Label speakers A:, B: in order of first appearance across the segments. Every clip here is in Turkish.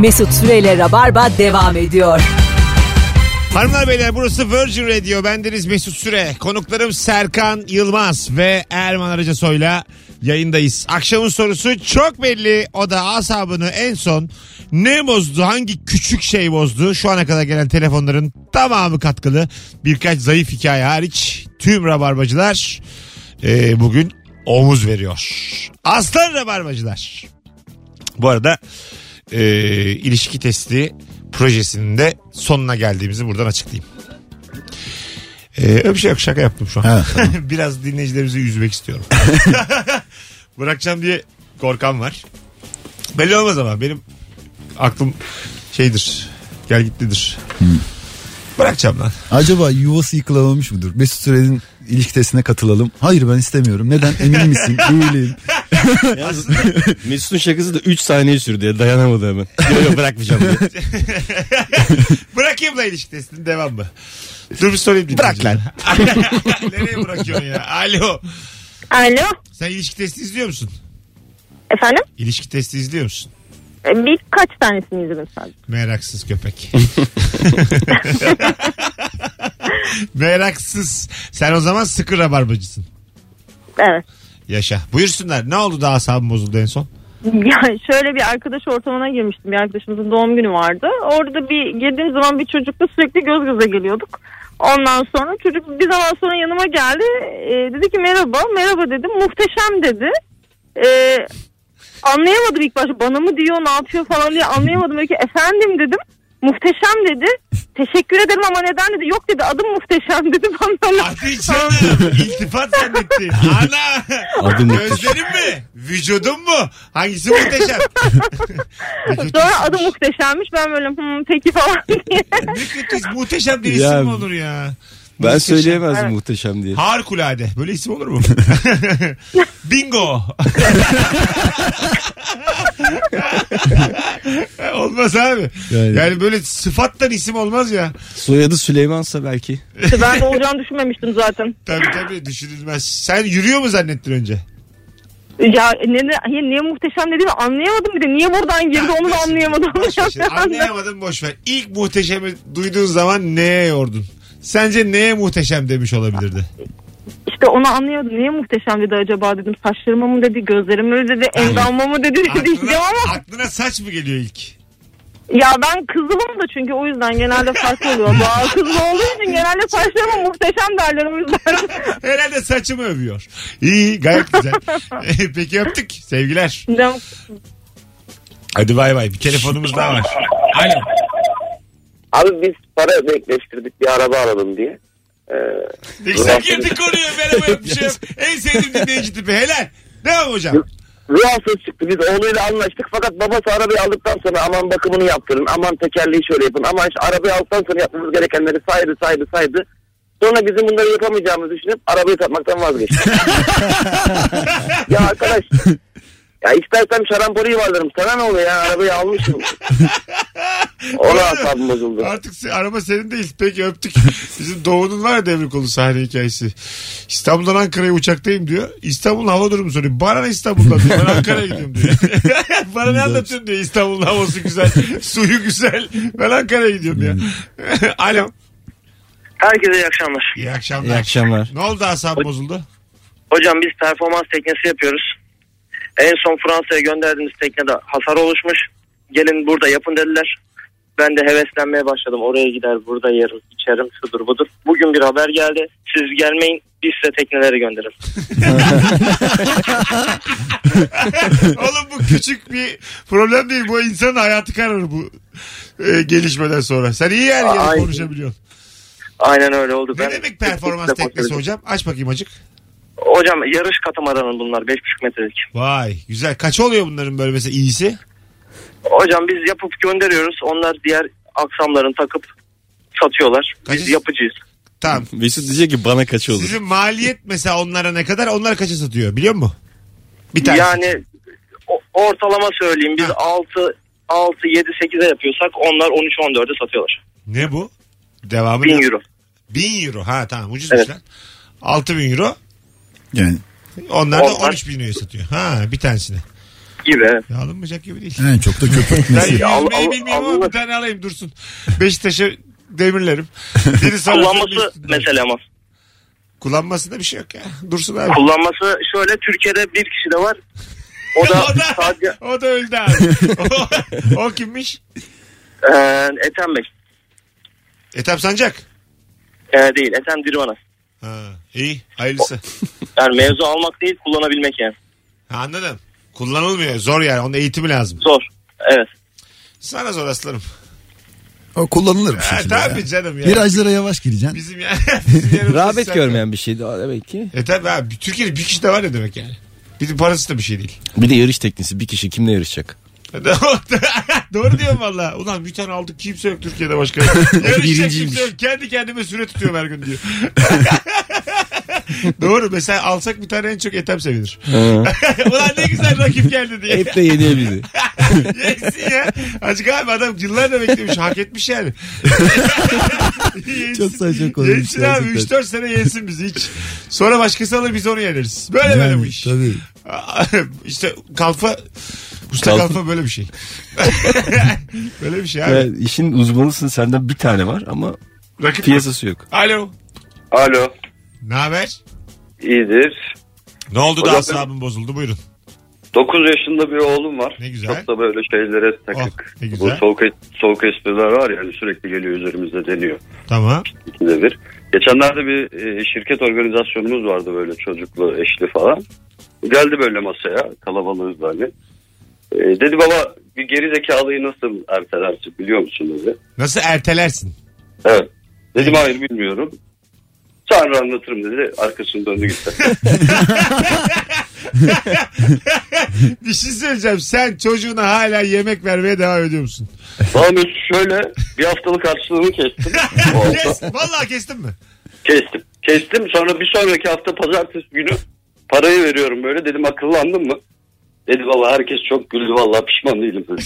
A: Mesut Süreyle Rabarba devam ediyor.
B: Hanımlar beyler burası Virgin Radio. Bendeniz Mesut Süre. Konuklarım Serkan Yılmaz ve Erman Arıca Soy'la yayındayız. Akşamın sorusu çok belli. O da asabını en son ne bozdu? Hangi küçük şey bozdu? Şu ana kadar gelen telefonların tamamı katkılı. Birkaç zayıf hikaye hariç tüm rabarbacılar e, bugün omuz veriyor. Aslan rabarbacılar. Bu arada e, ilişki testi projesinin de sonuna geldiğimizi buradan açıklayayım. E, öyle bir şey yok şaka yaptım şu an.
C: Ha,
B: Biraz dinleyicilerimizi üzmek istiyorum. Bırakacağım diye korkan var. Belli olmaz ama benim aklım şeydir. Gel gitlidir.
D: Hmm.
B: Bırakacağım lan.
C: Acaba yuvası yıkılamamış mıdır? Mesut Süren'in ilişki testine katılalım. Hayır ben istemiyorum. Neden? Emin misin? Değilim.
D: Mesut'un şakası da 3 saniye sürdü ya dayanamadı hemen. Yok yok bırakmayacağım diye.
B: Bırakayım da ilişki testinin devam mı? Dur bir sorayım
D: Bırak lan.
B: dinleyicilere. Nereye bırakıyorsun ya? Alo.
E: Alo.
B: Sen ilişki testi izliyor musun?
E: Efendim?
B: İlişki testi izliyor musun?
E: E, Birkaç tanesini izledim sadece.
B: Meraksız köpek. Meraksız. Sen o zaman sıkı rabarbacısın.
E: Evet.
B: Yaşa. Buyursunlar. Ne oldu da asabım bozuldu en son?
E: Yani şöyle bir arkadaş ortamına girmiştim. Bir arkadaşımızın doğum günü vardı. Orada bir girdiğim zaman bir çocukla sürekli göz göze geliyorduk. Ondan sonra çocuk bir zaman sonra yanıma geldi. E, dedi ki merhaba. Merhaba dedim. Muhteşem dedi. E, anlayamadım ilk başta. Bana mı diyor ne yapıyor falan diye anlayamadım. Böyle ki efendim dedim. Muhteşem dedi. Teşekkür ederim ama neden dedi. Yok dedi adım muhteşem dedi. Ben böyle
B: Hadi canım. İltifat zannettin. Ana.
D: Adım muhteşem.
B: Gözlerin mi? Vücudun mu? Hangisi muhteşem? Vücut
E: Sonra adı
B: iyiymiş.
E: muhteşemmiş. Ben böyle "Hmm, peki falan diye.
B: Ne kötü muhteşem bir
D: Ya-
B: isim mi olur ya?
D: Ben
B: Muhteşem.
D: söyleyemezdim muhteşem diye.
B: Harikulade. Böyle isim olur mu? Bingo. olmaz abi. Yani.
D: Yani.
B: böyle sıfattan isim olmaz ya.
D: Soyadı Süleyman'sa belki.
E: İşte ben de olacağını düşünmemiştim zaten.
B: Tabii tabii düşünülmez. Sen yürüyor mu zannettin önce?
E: Ya ne, ne, hayır, niye muhteşem dediğimi anlayamadım bir de. Niye buradan girdi onu
B: şey,
E: da anlayamadım.
B: Boş ver şimdi. Anlayamadım boş ver. İlk muhteşemi duyduğun zaman neye yordun? Sence neye muhteşem demiş olabilirdi?
E: işte onu anlayamadım. Niye muhteşem dedi acaba dedim. Saçlarıma mı dedi, gözlerime mi dedi, endamma mı dedi dedim
B: Aklına,
E: ama.
B: aklına saç mı geliyor ilk?
E: Ya ben kızılım da çünkü o yüzden genelde farklı oluyor. Doğal kızıl olduğu için genelde saçlarıma muhteşem derler o yüzden.
B: Herhalde saçımı övüyor. İyi gayet güzel. Peki öptük. Sevgiler.
E: Dedim,
B: Hadi bay bay. Bir telefonumuz daha var. Alo.
F: Abi biz para denkleştirdik bir araba alalım diye. Ee,
B: Sen girdik konuya. Merhaba yapmışım. en sevdiğim dinleyici tipi. Helal. Devam hocam.
F: Ruhsuz çıktı biz oğluyla anlaştık fakat babası arabayı aldıktan sonra aman bakımını yaptırın aman tekerleği şöyle yapın aman işte arabayı aldıktan sonra yapmamız gerekenleri saydı saydı saydı. Sonra bizim bunları yapamayacağımızı düşünüp arabayı satmaktan vazgeçti. ya arkadaş ya istersen şaramporiyi varlarım sana ne oluyor ya arabayı almışım. Ona asabım bozuldu.
B: Artık se- araba senin değil. Peki öptük. Bizim Doğu'nun var ya devre kolu sahne hikayesi. İstanbul'dan Ankara'ya uçaktayım diyor. İstanbul'un hava durumu soruyor. Bana ne İstanbul'dan diyor. Ben Ankara'ya gidiyorum diyor. Bana ne anlatıyorsun diyor. İstanbul'un havası güzel. Suyu güzel. Ben Ankara'ya gidiyorum diyor. Alo.
F: Herkese iyi akşamlar.
B: İyi
D: İyi
B: akşamlar.
D: akşamlar.
B: Ne oldu asabım bozuldu?
F: Hocam biz performans teknesi yapıyoruz. En son Fransa'ya gönderdiğimiz teknede hasar oluşmuş. Gelin burada yapın dediler. Ben de heveslenmeye başladım. Oraya gider burada yerim içerim şudur budur. Bugün bir haber geldi. Siz gelmeyin biz size tekneleri gönderin.
B: Oğlum bu küçük bir problem değil. Bu insanın hayatı kararır bu e, gelişmeden sonra. Sen iyi yer gelip
F: Aynen.
B: konuşabiliyorsun.
F: Aynen öyle oldu.
B: Ne demek performans teknesi hocam? Aç bakayım acık.
F: Hocam yarış katamaranı bunlar 5,5 metrelik.
B: Vay güzel. Kaç oluyor bunların böyle mesela iyisi?
F: Hocam biz yapıp gönderiyoruz. Onlar diğer aksamlarını takıp satıyorlar.
B: Kaçıncı-
F: Biz yapıcıyız.
B: Tamam.
D: Mesut diyecek ki bana kaç olur.
B: Sizin maliyet mesela onlara ne kadar? Onlar kaça satıyor biliyor musun? Bir tane.
F: Yani o- ortalama söyleyeyim biz
B: Ha.
F: 6 6 7 8'e yapıyorsak onlar 13 14'e satıyorlar.
B: Ne bu? Devamı
F: 1000
B: ne?
F: euro.
B: 1000 euro. Ha tamam ucuzmuş
F: Evet.
B: lan. 6000 euro.
C: Yani
B: Onlar da
F: Onlar-
B: 13 bin euroya satıyor. Ha bir tanesini.
F: gibi.
B: Ya alınmayacak gibi değil.
C: Yani çok da
B: Ben
C: köpürtmesi.
F: al-
B: yüzmeyi
F: al-
B: bilmiyorum ama
F: Allah-
B: bir tane alayım dursun. Beşiktaş'a demirlerim. Biri sonra
F: Kullanması
B: söylüyorsun.
F: mesela ama.
B: Kullanmasında bir şey yok ya. Dursun abi.
F: Kullanması şöyle Türkiye'de bir kişi de var. O da
B: o, da,
F: sadece
B: o da öldü abi. o, o kimmiş?
F: Eee e, Ethem Bey.
B: Etap Sancak.
F: Eee E, değil Ethem Dirvan'a.
B: Ha, iyi hayırlısı.
F: Yani mevzu almak değil kullanabilmek yani.
B: Ha, anladım. Kullanılmıyor. Zor yani. Onun eğitimi lazım.
F: Zor. Evet.
B: Sana zor aslanım.
C: O kullanılır bir
B: Ha,
C: şekilde.
B: tabii
C: ya.
B: canım ya.
C: Virajlara yavaş gireceksin.
B: Bizim yani. bizim yanımızda
D: Rağbet
B: sen-
D: görmeyen bir şeydi o demek ki.
B: E tabii abi. Türkiye'de bir kişi de var ne demek yani. Bizim parası da bir şey değil.
D: Bir de yarış teknisi bir kişi kimle yarışacak?
B: Doğru diyorum valla. Ulan bir tane aldık kimse yok Türkiye'de başka. Yarışacak
D: Birinciymiş.
B: kimse yok. Kendi kendime süre tutuyorum her gün diyor. Doğru mesela alsak bir tane en çok etem sevinir. Ulan ne güzel rakip geldi diye.
D: Hep de yenebildi.
B: Yesin ya. Azıcık abi adam yıllardır beklemiş. Hak etmiş yani. Yesin.
C: Çok saçma konuşmuş
B: Yesin abi
C: gerçekten.
B: 3-4 sene yesin bizi hiç. Sonra başkası alır biz onu yeneriz. Böyle böyle bu
C: Yani,
B: iş.
C: tabii.
B: işte kalfa usta kalfa.
D: Kalfa.
B: böyle bir şey. böyle bir şey abi.
D: Yani işin uzmanısın senden bir tane var ama
B: Rakip
D: piyasası yok.
B: Alo.
G: Alo.
B: Ne haber?
G: iyidir.
B: Ne oldu da
G: Hocam-
B: asabım bozuldu buyurun.
G: 9 yaşında bir oğlum var.
B: Ne güzel.
G: Çok da böyle şeylere takık.
B: Oh, ne
G: Bu
B: güzel.
G: soğuk, soğuk espriler var ya hani sürekli geliyor üzerimize deniyor.
B: Tamam.
G: İkide bir. Geçenlerde bir e, şirket organizasyonumuz vardı böyle çocuklu eşli falan. Geldi böyle masaya kalabalığız böyle. E, dedi baba bir geri zekalıyı nasıl ertelersin biliyor musun dedi.
B: Nasıl ertelersin?
G: Evet. Dedim hayır bilmiyorum. Sonra anlatırım dedi. Arkasını döndü gitti.
B: bir şey söyleyeceğim. Sen çocuğuna hala yemek vermeye devam ediyor musun?
G: Bana Mesut şöyle bir haftalık harçlığımı kestim. O hafta.
B: Kes, vallahi kestin mi?
G: Kestim. Kestim. Sonra bir sonraki hafta pazartesi günü parayı veriyorum böyle. Dedim akıllandın mı? Dedi valla herkes çok güldü valla pişman değilim. dedi.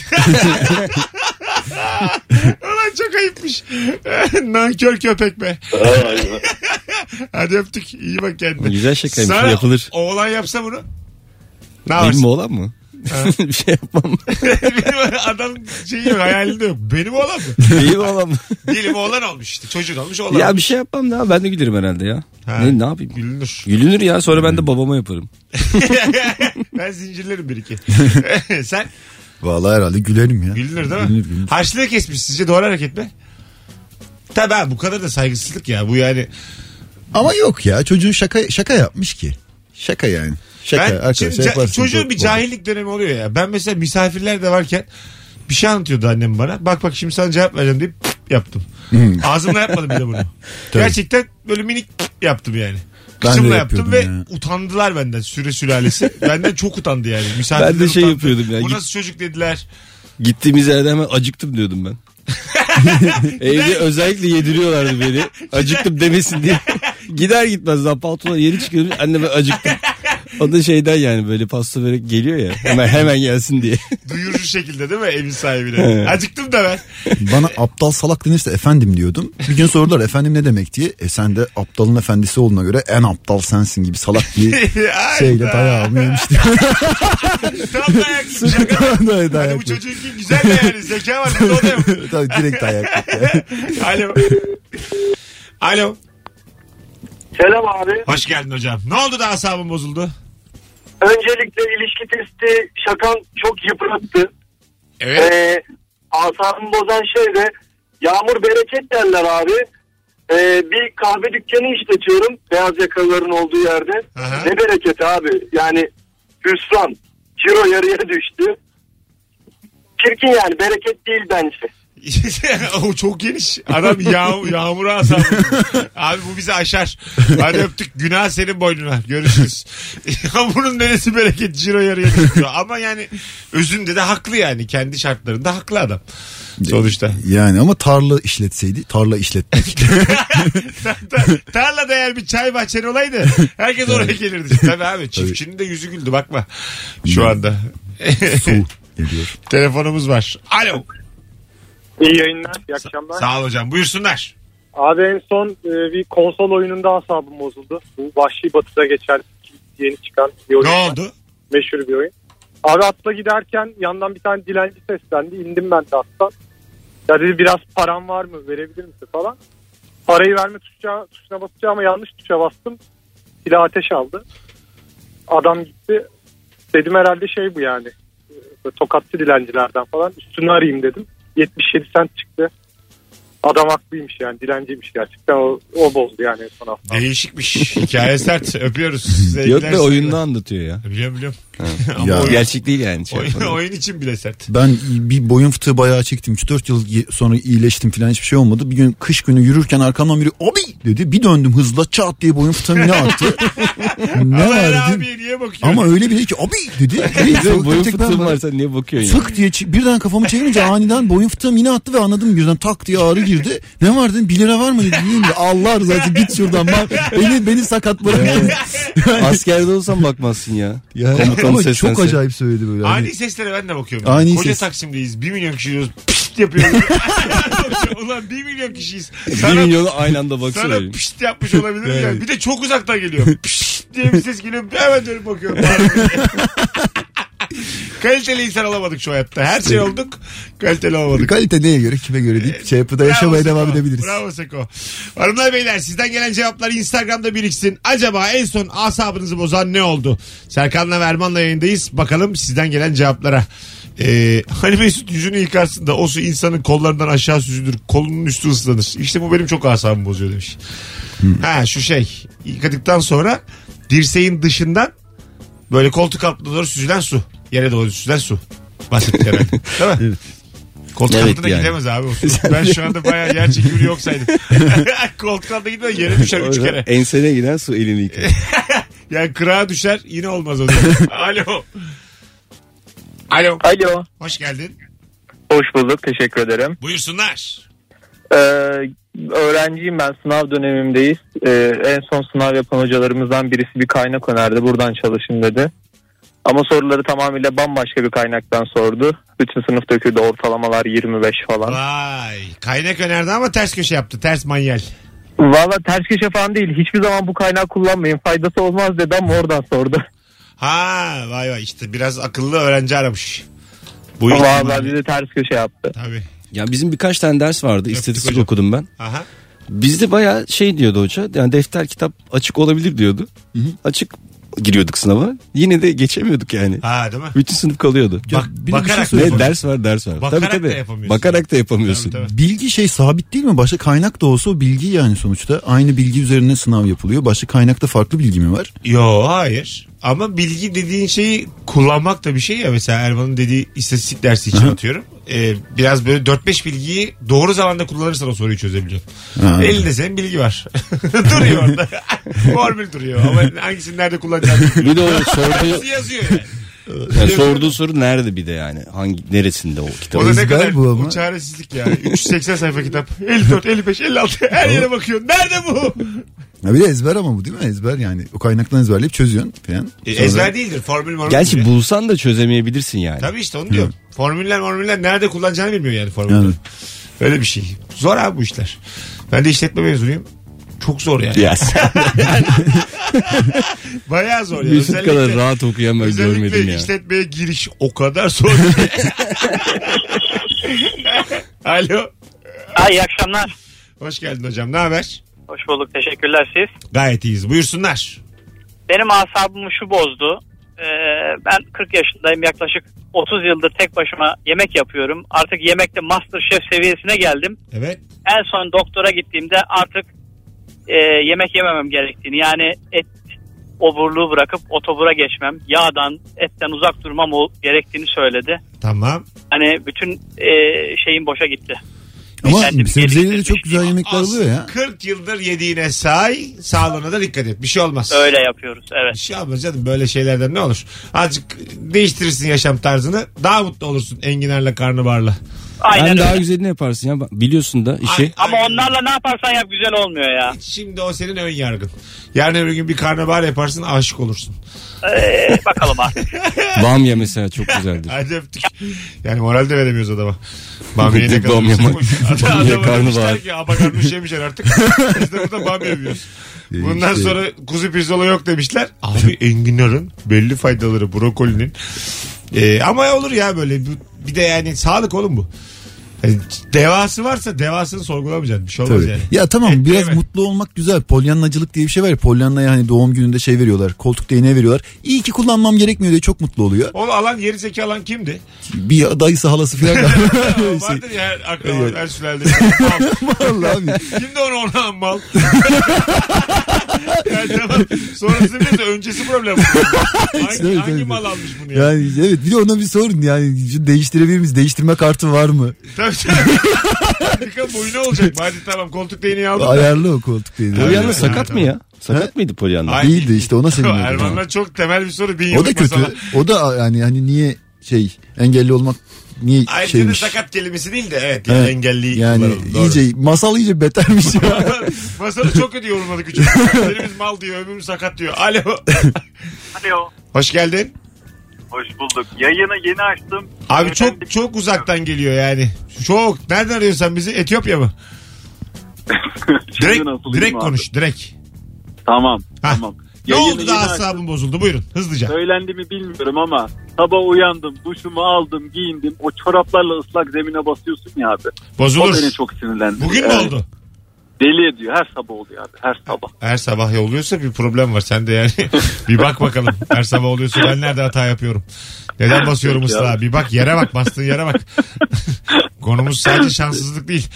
B: Ulan çok ayıpmış. Nankör köpek be.
G: Ay, ay.
B: Hadi öptük. İyi bak kendine.
D: Güzel şakaymış
B: Sana
D: yapılır.
B: oğlan yapsa bunu. Ne
D: Benim mi
B: yaparsın?
D: olan mı? bir şey yapmam.
B: Benim adam şey yok hayalinde yok. Benim oğlan mı?
D: Benim olan mı?
B: Değilim oğlan olmuş işte. Çocuk olmuş oğlan.
D: ya bir
B: olmuş.
D: şey yapmam da ben de gülerim herhalde ya.
B: Ha.
D: Ne, ne yapayım?
B: Gülünür.
D: Gülünür ya sonra ben de babama yaparım.
B: ben zincirlerim bir iki. Sen
C: Vallahi herhalde gülerim ya.
B: gülünür değil mi? Harçlığı kesmiş sizce doğru hareket mi? Tabii abi, bu kadar da saygısızlık ya. Bu yani
C: Ama yok ya çocuğun şaka şaka yapmış ki. Şaka yani. Şaka
B: Ben,
C: arkadaşlar
B: şimdi ca-
C: yaparsın.
B: çocuğun bir
C: Çok-
B: cahillik dönemi oluyor ya. Ben mesela misafirler de varken bir şey anlatıyordu annem bana. Bak bak şimdi sana cevap vereceğim deyip pıp yaptım. Ağzımla yapmadım bile bunu. Gerçekten böyle minik pıp yaptım yani.
C: Ben de
B: Kıçımla yaptım
C: yapıyordum
B: ve
C: ya.
B: utandılar benden süre sülalesi. benden çok utandı yani. Misafirler
D: Ben de şey
B: utandı.
D: yapıyordum ya.
B: Bu
D: Git-
B: nasıl çocuk dediler.
D: Gittiğimiz yerde hemen acıktım diyordum ben. Evde özellikle yediriyorlardı beni. Acıktım demesin diye. Gider gitmez daha paltona yeri çıkıyor. Anne ben acıktım. O da şeyden yani böyle pasta börek geliyor ya. Hemen hemen gelsin diye.
B: Duyurucu şekilde değil mi evin sahibine? Acıktım da ben.
C: Bana aptal salak denirse efendim diyordum. Bir gün sordular efendim ne demek diye. E sen de aptalın efendisi olduğuna göre en aptal sensin gibi salak diye şeyle
B: Hayda.
C: dayağımı yemiştim.
B: Tam dayak yiyecek.
C: Dayak
B: Hadi Hani bu
C: yedim.
B: çocuğunki güzel de yani zeka var. Ne oluyor?
C: Tabii direkt dayak yedim.
B: Alo. Alo.
F: Selam abi.
B: Hoş geldin hocam. Ne oldu da asabın bozuldu?
F: Öncelikle ilişki testi şakan çok yıprattı.
B: Evet.
F: Ee, asabımı bozan şey de yağmur bereket derler abi. Ee, bir kahve dükkanı işletiyorum beyaz yakalıların olduğu yerde.
B: Aha.
F: Ne bereketi abi yani hüsran. Ciro yarıya düştü. Çirkin yani bereket değil bence.
B: o çok geniş. Adam yağ, yağmura asabı. Abi bu bizi aşar. Hadi öptük. Günah senin boynuna. Görüşürüz. Ya bunun neresi bereket ciro yarıya düşüyor. Ama yani özünde de haklı yani. Kendi şartlarında haklı adam. Sonuçta.
C: Yani ama tarla işletseydi tarla işletmek.
B: Ta- tarlada eğer bir çay bahçen olaydı herkes oraya gelirdi. Tabii abi çiftçinin de yüzü güldü bakma şu anda.
C: Su geliyor.
B: Telefonumuz var. Alo.
H: İyi yayınlar, iyi akşamlar.
B: Sağ ol hocam. Buyursunlar.
H: Abi en son e, bir konsol oyununda asabım bozuldu. Bu Vahşi Batı'da geçen yeni çıkan bir oyun.
B: Ne
H: var.
B: oldu?
H: Meşhur bir oyun. Abi atla giderken yandan bir tane dilenci seslendi. İndim ben de attan. Ya dedi biraz param var mı verebilir misin falan. Parayı verme tuşa, tuşuna basacağıma yanlış tuşa bastım. Silah ateş aldı. Adam gitti. Dedim herhalde şey bu yani. e, böyle Tokatçı dilencilerden falan. Üstünü arayayım dedim. 77 sent çıktı. Adam haklıymış yani dilenciymiş gerçekten o, o bozdu yani en son hafta.
B: Değişikmiş. Hikaye sert. Öpüyoruz.
D: Yok
B: Sevgiler
D: be
B: sana.
D: oyununu anlatıyor ya.
B: E, Biliyorum biliyorum. Ama
C: Ya.
B: oyun-
D: Gerçek değil yani. Şey
B: oyun,
D: yapalım.
B: oyun için bile sert.
C: Ben bir boyun fıtığı bayağı çektim. 3-4 yıl ye- sonra iyileştim falan hiçbir şey olmadı. Bir gün kış günü yürürken arkamdan biri abi dedi. Bir döndüm hızla çat diye boyun fıtığım yine arttı. ne
B: Ama şey.
C: var
B: Ela
C: dedim.
B: abiye niye bakıyor?
C: Ama öyle bile ki abi dedi. Hey,
D: Bizim
C: soğuktan
D: boyun
C: tek ben
D: fıtığın
C: varım.
D: var sen niye bakıyorsun ya?
C: Tık diye çi- birden kafamı çevirince aniden boyun fıtığım yine attı ve anladım birden tak diye ağrı girdi. Ne var dedim 1 lira var mı dedim. Dedim ki, Allah rızası için git şuradan bak. Beni, beni sakat bırakın.
D: Askerde olsan bakmazsın ya.
C: Ya,
D: Komutanı
C: ama çok
D: seslense.
C: acayip söyledi böyle. Hani-
B: Ani seslere ben de bakıyorum.
C: Ani
B: Koca
C: ses.
B: Taksim'deyiz. 1 milyon kişiyiz. Pişt yapıyoruz. Ulan 1 milyon kişiyiz.
D: Bir
B: Sana,
D: milyonu aynı anda baksana.
B: sana
D: benim.
B: pişt yapmış olabilir mi?
D: Yani.
B: Bir de çok uzaktan geliyor. Pişt diye bir ses geliyor. Hemen dönüp bakıyorum. Kaliteli insan olamadık şu hayatta. Her şey olduk. Kaliteli olamadık.
C: Kalite neye göre kime göre deyip şey yapıda yaşamaya
B: Seko.
C: devam edebiliriz.
B: Bravo Seko. Hanımlar beyler sizden gelen cevaplar Instagram'da biriksin. Acaba en son asabınızı bozan ne oldu? Serkan'la ve Erman'la yayındayız. Bakalım sizden gelen cevaplara. Ee, hani Mesut yüzünü yıkarsın da o su insanın kollarından aşağı süzülür. Kolunun üstü ıslanır. İşte bu benim çok asabımı bozuyor demiş.
C: Hmm.
B: Ha şu şey. Yıkadıktan sonra dirseğin dışından böyle koltuk altına doğru süzülen su. Yere doğru süzülen su. Bahsettik herhalde. Değil mi? Koltuk
D: Evet
B: altına
D: yani.
B: gidemez abi. o su. ben şu anda bayağı yer çekimi yoksaydım. koltuk altına gitmez yere düşer üç kere.
D: Ensene giden su elini yıkar.
B: Yani kırağa düşer yine olmaz o zaman. Alo. Alo.
I: Alo.
B: Hoş geldin.
I: Hoş bulduk. Teşekkür ederim.
B: Buyursunlar.
I: Ee, öğrenciyim ben. Sınav dönemimdeyiz. Ee, en son sınav yapan hocalarımızdan birisi bir kaynak önerdi. Buradan çalışın dedi. Ama soruları tamamıyla bambaşka bir kaynaktan sordu. Bütün sınıf döküldü. Ortalamalar 25 falan.
B: Vay. Kaynak önerdi ama ters köşe yaptı. Ters manyel.
I: Valla ters köşe falan değil. Hiçbir zaman bu kaynağı kullanmayın. Faydası olmaz dedi ama oradan sordu.
B: Ha vay vay işte biraz akıllı öğrenci aramış. Bu
I: Valla bizi ters köşe yaptı.
B: Tabii.
D: Ya bizim birkaç tane ders vardı. İstatistik
B: hocam.
D: okudum ben.
B: Aha.
D: Bizde bayağı şey diyordu hoca. Yani defter kitap açık olabilir diyordu. Açık giriyorduk sınava. Yine de geçemiyorduk yani.
B: Ha değil mi?
D: Bütün sınıf kalıyordu.
C: Ya
B: Bak-
C: bir de bir
B: bakarak
C: şey
D: Ne
C: söyleyeyim.
D: ders var ders var.
B: Bakarak
D: tabii, tabii.
B: da yapamıyorsun.
D: Bakarak da yapamıyorsun.
B: Tabii, tabii.
C: Bilgi şey sabit değil mi? Başka kaynak da olsa o bilgi yani sonuçta. Aynı bilgi üzerine sınav yapılıyor. Başka kaynakta farklı bilgi mi var?
B: Yo hayır. Ama bilgi dediğin şeyi kullanmak da bir şey ya. Mesela Erman'ın dediği istatistik dersi için atıyorum. Ee, biraz böyle 4-5 bilgiyi doğru zamanda kullanırsan o soruyu çözebiliyorsun.
C: Ha.
B: Elinde senin bilgi var. duruyor orada. Formül duruyor. Ama hangisini nerede kullanacağını bilmiyorum.
D: Bir de o sorduğu,
B: Hepsi yazıyor yani.
D: yani sorduğu soru nerede bir de yani? Hangi neresinde o kitap?
B: O da ne
C: Ezber
B: kadar
C: bu ama.
B: bu çaresizlik ya. 380 sayfa kitap. 54, 55, 56 her yere bakıyorsun. Nerede bu?
C: Ya bir de ezber ama bu değil mi? Ezber yani. O kaynaktan ezberleyip çözüyorsun falan.
B: E,
C: Sonra-
B: ezber değildir. Formül formül.
D: Gerçi bulsan da çözemeyebilirsin yani.
B: Tabii işte onu diyorum. Formüller formüller nerede kullanacağını bilmiyor yani formüller.
C: Yani.
B: Öyle bir şey. Zor abi bu işler. Ben de işletme mezunuyum. Çok zor yani.
D: Ya sen
B: Bayağı zor yani.
D: Mesut
B: Özellikle,
D: kadar rahat okuyan ben görmedim
B: özellikle
D: ya.
B: işletmeye giriş o kadar zor. ki. Alo.
J: Ha, iyi akşamlar.
B: Hoş geldin hocam. Ne haber?
J: Hoş bulduk. Teşekkürler siz.
B: Gayet iyiyiz. Buyursunlar.
J: Benim asabımı şu bozdu. Ee, ben 40 yaşındayım. Yaklaşık 30 yıldır tek başıma yemek yapıyorum. Artık yemekte master chef seviyesine geldim.
B: Evet.
J: En son doktora gittiğimde artık e, yemek yememem gerektiğini yani et oburluğu bırakıp otobura geçmem, yağdan, etten uzak durmam ol- gerektiğini söyledi.
B: Tamam.
J: Hani bütün e, şeyim boşa gitti.
C: Ama
J: Kendim
C: sebzeleri
J: geliştirmiş.
C: çok güzel yemekler
B: Az
C: oluyor ya.
B: 40 yıldır yediğine say, sağlığına da dikkat et. Bir şey olmaz.
J: Öyle yapıyoruz. Evet.
B: Bir şey olmaz canım böyle şeylerden ne olur. Azıcık değiştirirsin yaşam tarzını. Daha mutlu olursun enginarla karnabarla.
J: Aynen
D: Hem daha
J: öyle.
D: güzelini yaparsın ya. Bak, Biliyorsun da
C: şey?
D: işi.
B: Ay-
J: Ama onlarla ne yaparsan yap güzel olmuyor ya.
B: Şimdi o senin ön yargın. Yarın öbür gün bir karnabahar yaparsın aşık olursun.
J: Ee, bakalım artık.
D: Bamya mesela çok güzeldir.
B: Hadi öptük. Yani moral de veremiyoruz adama. Bamya ne kadar
D: Bamya-
B: uzunmuş. Adam-
D: Bamya
B: adama
D: karnabahar.
B: demişler ki abakarmış yemişler artık. Biz de burada bamya yiyoruz. Bundan
C: İşte-
B: sonra kuzu pirzola yok demişler. Abi enginarın belli faydaları brokolinin Ee, ama olur ya böyle Bu- bir de yani sağlık oğlum bu. Yani devası varsa devasını sorgulamayacaksın. Bir şey olmaz
C: Tabii.
B: yani.
C: Ya tamam biraz
B: Ekleme.
C: mutlu olmak güzel. Polyanlacılık diye bir şey var ya. Polyanlaya hani doğum gününde şey veriyorlar. Koltuk değneği veriyorlar. İyi ki kullanmam gerekmiyor diye çok mutlu oluyor.
B: Onu alan geri zeki alan kimdi?
C: Bir dayısı halası Şey, filan.
B: O
C: Neyse.
B: Vardır ya her akrabalar her sülalede. Al.
C: Vallahi abi.
B: Kimdi onu ona alan mal? yani tamam. Sonrası bir de öncesi problem. hangi,
C: Evet,
B: hangi
C: evet.
B: mal almış bunu ya?
C: Yani evet bir de ona bir sorun yani şu değiştirebilir miyiz? Değiştirme kartı var mı?
B: Tabii tabii. Dikkat boyuna olacak. Hadi tamam koltuk değneğini aldım. da.
C: Ayarlı o koltuk değneği.
D: Polyanna
B: Evet,
D: sakat mı
B: evet.
D: ya? Sakat mıydı Polyanna?
B: Ay-
C: Değildi işte ona seviniyorum. Ha.
B: Erman'la çok temel bir soru. Bin
C: O da
B: yıllık
C: kötü.
B: masala.
C: O da yani hani niye şey engelli olmak niye
B: Ayrıca da
C: şeymiş?
B: sakat kelimesi değil de evet, yani
C: Evet.
B: engelli
C: Yani
B: kullanalım. Doğru.
C: iyice masal iyice betermiş ya.
B: Masalı çok kötü yorumladık üçümüz. Birimiz mal diyor öbürümüz sakat diyor. Alo.
K: Alo.
B: Hoş geldin.
K: Hoş bulduk. Yayını yeni açtım.
B: Abi
K: Neden
B: çok çok uzaktan geliyor yani. Çok. Nereden arıyorsun sen bizi? Etiyopya mı?
K: Şimdi
B: Direkt,
K: nasıl
B: direkt
K: diyeyim abi?
B: konuş direkt.
K: Tamam.
B: Hah.
K: Tamam.
B: Ne
K: Yayını
B: oldu da
K: yeni
B: asabın bozuldu? Buyurun hızlıca.
K: Söylendi mi bilmiyorum ama sabah uyandım, duşumu aldım, giyindim. O çoraplarla ıslak zemine basıyorsun ya abi. O
B: Bozulur.
K: beni çok sinirlendi.
B: Bugün mü
K: Evet.
B: oldu?
K: Deli ediyor. Her sabah oluyor abi. Her sabah.
B: Her sabah ya oluyorsa bir problem var. Sen de yani bir bak bakalım. Her sabah oluyorsa ben nerede hata yapıyorum? Neden basıyorum
K: Peki
B: ıslığa? Bir bak yere bak. Bastığın yere bak. Konumuz sadece şanssızlık değil.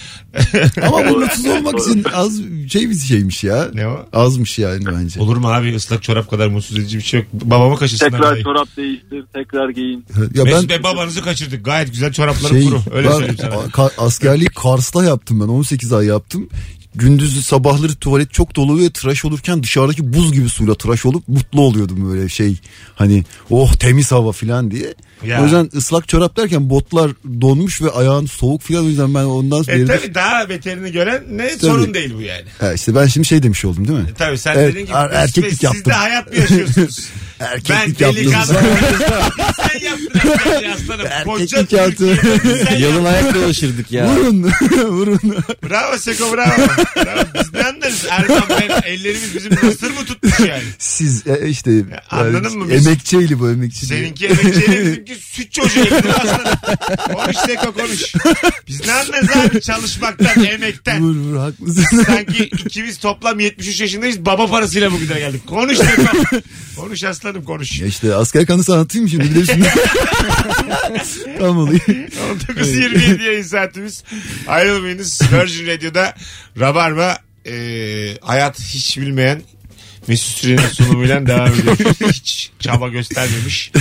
C: Ama bu mutsuz olmak için az şey bir şeymiş ya.
B: ne o?
C: Azmış yani bence.
B: Olur mu abi ıslak çorap kadar mutsuz edici bir şey yok. Babamı kaşısınlar.
K: Tekrar
B: dahi.
K: çorap değiştir, tekrar giyin.
C: Ya
B: Mesut
C: ben
B: Bey babanızı kaçırdık. Gayet güzel çorapları
C: şey
B: kuru. Öyle
C: ben
B: söyleyeyim sana.
C: ka- askerliği Kars'ta yaptım ben 18 ay yaptım. Gündüzü sabahları tuvalet çok dolu ve tıraş olurken dışarıdaki buz gibi suyla tıraş olup mutlu oluyordum böyle şey hani oh temiz hava filan diye.
B: Ya.
C: O yüzden ıslak çorap derken botlar donmuş ve ayağın soğuk filan o yüzden ben ondan sonra
B: E
C: yerine-
B: tabi daha beterini gören ne sorun değil bu yani.
C: Ha, işte ben şimdi şey demiş oldum değil mi?
B: E tabi sen
C: Evet,
B: dediğin gibi
C: er- erkeklik
B: siz, siz de
C: yaptım.
B: hayat mı yaşıyorsunuz? ben
C: Erkeklik
B: delikanlı.
C: yaptığımızda.
B: sen yaptın erkekliği aslanım. Koca
C: Erkeklik
B: Türkiye.
C: yaptım.
B: Sen
D: Yalın ayak dolaşırdık ya.
C: Vurun vurun.
B: Bravo Seko bravo. bravo. Biz ne anlarız? Erman ben ellerimiz bizim mısır mı tutmuş yani?
C: Siz e, işte
B: Anladın
C: yani
B: mı? Biz-
C: emekçeyli bu emekçi. diye.
B: Seninki emekçiyle bizimki süt çocuğu evde aslanım. Konuş Seko konuş. Biz ne anlarız abi çalışmaktan, emekten.
C: Vur vur haklısın.
B: Sanki ikimiz toplam 73 yaşındayız. Baba parasıyla bugüne geldik. Konuş Seko. konuş aslanım konuş.
C: Ya işte asker kanısı anlatayım şimdi bir de şimdi. Tam olayım.
B: 19.27 yayın saatimiz. Ayrılmayınız. Virgin Radio'da Rabarba e, hayat hiç bilmeyen Mesut Süren'in sunumuyla devam ediyor. Hiç çaba göstermemiş.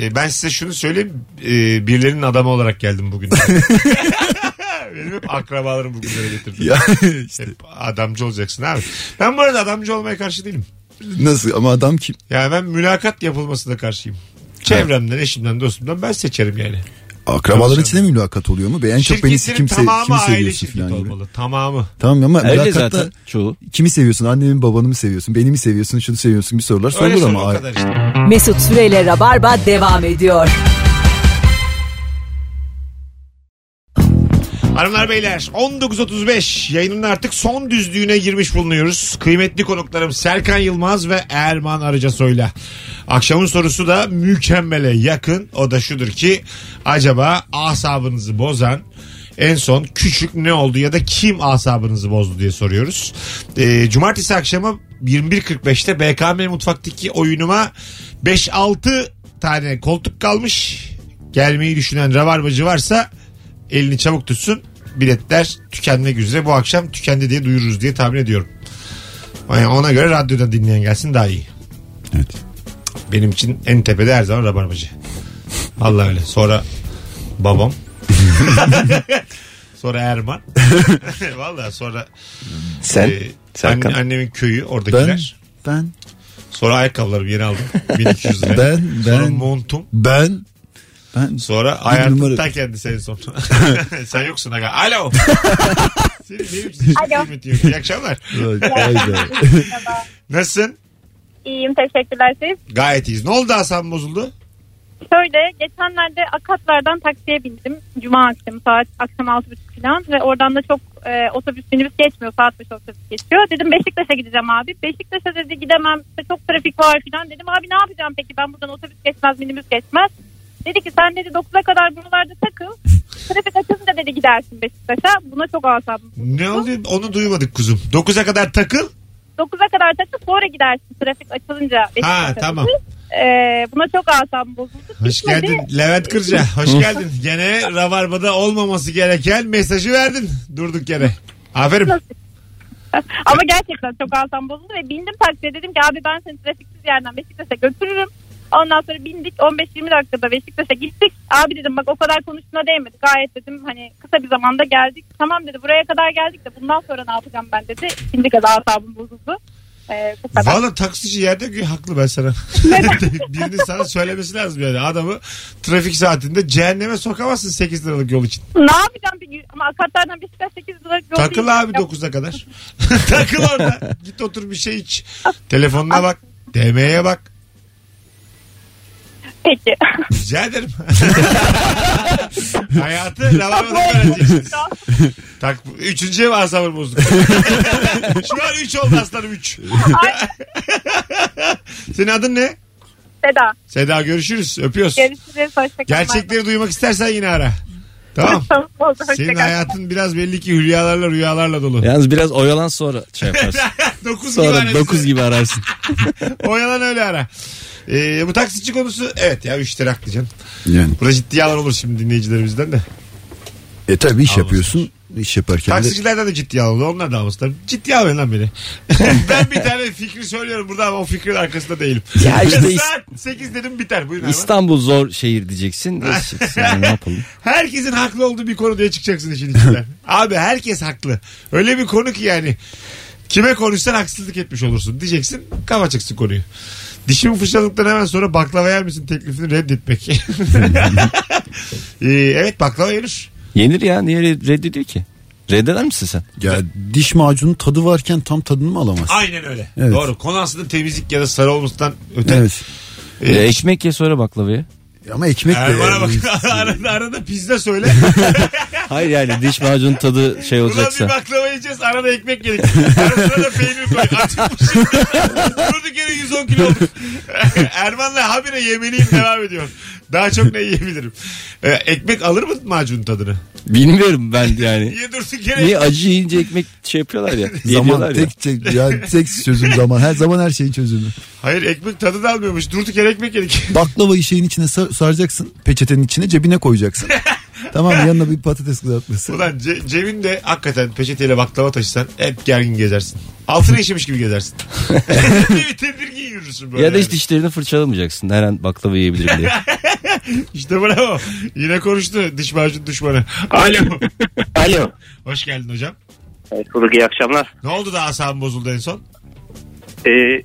B: E, ben size şunu söyleyeyim. E, birilerinin adamı olarak geldim bugün. Benim hep akrabalarım bugünlere getirdi.
C: Ya işte
B: Hep adamcı olacaksın abi. Ben bu arada adamcı olmaya karşı değilim.
C: nasıl ama adam kim?
B: Yani ben mülakat yapılmasına karşıyım. Çevremden, eşimden, dostumdan ben seçerim yani.
C: Akrabaların içinde mi mülakat oluyor mu? Be, En çok beni
B: Şirketlerin
C: kimse, kim
B: tamamı aile
C: seviyorsun
B: şirketi
C: falan gibi.
B: olmalı. Tamamı.
C: Tamam ama
D: Öyle
C: mülakatta
D: zaten çoğu.
C: kimi seviyorsun? Annemi mi babanı mı seviyorsun? Beni mi seviyorsun? Şunu seviyorsun bir sorular
B: Öyle
C: sorulur
B: sorun
C: ama.
B: o kadar işte.
A: Mesut Süreyle Rabarba devam ediyor.
B: Hanımlar beyler 19.35 yayının artık son düzlüğüne girmiş bulunuyoruz. Kıymetli konuklarım Serkan Yılmaz ve Erman Arıcasoy'la. Akşamın sorusu da mükemmele yakın. O da şudur ki acaba asabınızı bozan en son küçük ne oldu ya da kim asabınızı bozdu diye soruyoruz. Ee, cumartesi akşamı 21.45'te BKM Mutfak'taki oyunuma 5-6 tane koltuk kalmış. Gelmeyi düşünen rabarbacı varsa elini çabuk tutsun. Biletler tükenmek üzere bu akşam tükendi diye duyururuz diye tahmin ediyorum. Yani ona göre radyoda dinleyen gelsin daha iyi.
C: Evet.
B: Benim için en tepede her zaman rabarbacı. Allah öyle. Sonra babam. sonra Erman. Valla sonra
D: Sen?
B: e,
D: Serkan.
B: anne- annemin köyü
C: Ben
B: oradakiler.
C: ben
B: Sonra ayakkabılarımı yeni aldım. 1200 lira.
C: Ben,
B: Sonra
C: ben.
B: montum.
C: ben ben
B: Sonra
C: numara-
B: hayatım ta kendisi en son. Sen yoksun aga. Alo. Senin benim için hiçbir
E: Alo.
B: kıymetin yok. İyi akşamlar.
C: Vay be.
B: Nasılsın?
E: İyiyim teşekkürler siz.
B: Gayet iyiyiz. Ne oldu Hasan bozuldu?
E: Şöyle geçenlerde Akatlar'dan taksiye bindim. Cuma akşamı saat akşam 6.30 falan ve oradan da çok e, otobüs minibüs geçmiyor. Saat 5 otobüs geçiyor. Dedim Beşiktaş'a gideceğim abi. Beşiktaş'a dedi gidemem işte çok trafik var falan. Dedim abi ne yapacağım peki ben buradan otobüs geçmez minibüs geçmez.
L: Dedi ki sen dedi 9'a kadar buralarda takıl. Trafik açılınca dedi gidersin Beşiktaş'a. Buna çok asabım.
B: Ne oldu? Onu duymadık kuzum. 9'a kadar takıl.
L: 9'a kadar takıl sonra gidersin trafik açılınca Beşiktaş'a.
B: Ha,
L: dedi.
B: tamam.
E: E,
L: Ee, buna çok asabım bozuldu.
B: Hoş
L: Gitmedi.
B: geldin Levent Kırca. Hoş geldin. Gene Rabarba'da olmaması gereken mesajı verdin. Durduk yere. Aferin.
L: Ama gerçekten çok asam bozuldu ve bindim taksiye dedim ki abi ben seni trafiksiz yerden Beşiktaş'a götürürüm. Ondan sonra bindik 15-20 dakikada Beşiktaş'a gittik. Abi dedim bak o kadar konuştuğuna değmedi. Gayet dedim hani kısa bir zamanda geldik. Tamam dedi buraya kadar geldik de bundan sonra ne yapacağım ben dedi. İkinci kez asabım bozuldu. Ee, bu kadar.
B: Valla taksici yerde ki haklı ben sana. Birinin sana söylemesi lazım yani. Adamı trafik saatinde cehenneme sokamazsın 8 liralık yol için.
L: Ne yapacağım bir ama akartlardan Beşiktaş 8 lira yol
B: Takıl
L: değil.
B: abi 9'a kadar. Takıl orada. Git otur bir şey iç. Telefonuna bak. DM'ye bak.
L: Peki.
B: Rica ederim. Hayatı lavaboda öğreneceksin. Tak, üçüncüye mi asabım bozduk? Şu an 3 oldu aslanım 3. Senin adın ne?
L: Seda
B: Seda görüşürüz. Öpüyoruz.
L: görüşürüz. Hoşçakalın.
B: Gerçekleri duymak istersen yine ara. Tamam.
L: Tamam oldu.
B: Senin
L: Hoşçakalın.
B: hayatın biraz belli ki hülyalarla rüyalarla dolu.
D: Yalnız biraz oyalan sonra şey yaparsın.
B: 9 gibi
D: Sonra
B: arası.
D: 9 gibi ararsın.
B: Oyalan öyle ara. Ee, bu taksici konusu evet ya 3 lira haklı canım.
C: Yani.
B: Burada ciddi yalan olur şimdi dinleyicilerimizden de.
C: E tabi iş yapıyorsun. iş yaparken de.
B: Taksicilerden de ciddi yalan olur. Onlar da almışlar. Ciddi almayın lan beni. ben bir tane fikri söylüyorum burada ama o fikrin arkasında değilim.
D: Ya işte
B: Saat 8 dedim biter. Buyurun hemen.
D: İstanbul zor şehir diyeceksin. Geçeceksin. Yani ne yapalım?
B: Herkesin haklı olduğu bir konu diye çıkacaksın işin içinden. Abi herkes haklı. Öyle bir konu ki yani. Kime konuşsan haksızlık etmiş olursun diyeceksin. Kafa çıksın konuyu. Dişimi fırçaladıktan hemen sonra baklava yer misin teklifini reddetmek. Ee, evet baklava yenir.
D: Yenir ya niye re- reddediyor ki? Reddeder misin sen?
C: Ya diş macunun tadı varken tam tadını mı alamazsın?
B: Aynen öyle.
C: Evet.
B: Doğru. Konu aslında temizlik ya da sarı olmasından öte.
C: Evet.
B: Ee,
D: Ya ekmek ye sonra baklavayı.
C: Ama ekmek de.
B: Erman'a
C: yani.
B: bak arada, arada pizza söyle.
D: Hayır yani diş macunun tadı şey
B: Ulan bir
D: olacaksa.
B: baklava yiyeceğiz arada ekmek yedik. Arasına da peynir koy. şey. Açıkmışım. Durduk yere 110 kilo olduk. Erman'la habire yemeliyim devam ediyor. Daha çok ne yiyebilirim? Ee, ekmek alır mı macunun tadını?
D: Bilmiyorum ben yani.
B: Niye durduk yere?
D: Niye acı yiyince ekmek şey yapıyorlar ya.
C: Zaman
D: Zaman
C: tek, tek, ya, tek çözüm zaman. Her zaman her şeyin çözümü.
B: Hayır ekmek tadı da almıyormuş. Durduk yere ekmek yedik.
C: Baklavayı şeyin içine sar- saracaksın. Peçetenin içine cebine koyacaksın. tamam mı? yanına bir patates kızartması.
B: Ulan ce- cebinde hakikaten peçeteyle baklava taşısan hep gergin gezersin. Altına işemiş gibi gezersin. bir tedirgin yürürsün böyle.
D: Ya da
B: şey yani.
D: hiç dişlerini fırçalamayacaksın. Her an baklava yiyebilirim diye.
B: İşte bravo. Yine konuştu diş macun düşmanı. Alo.
F: Alo.
B: Hoş geldin hocam.
F: Evet, bulduk iyi akşamlar.
B: Ne oldu da asabın bozuldu en son?
K: E,
F: Ee,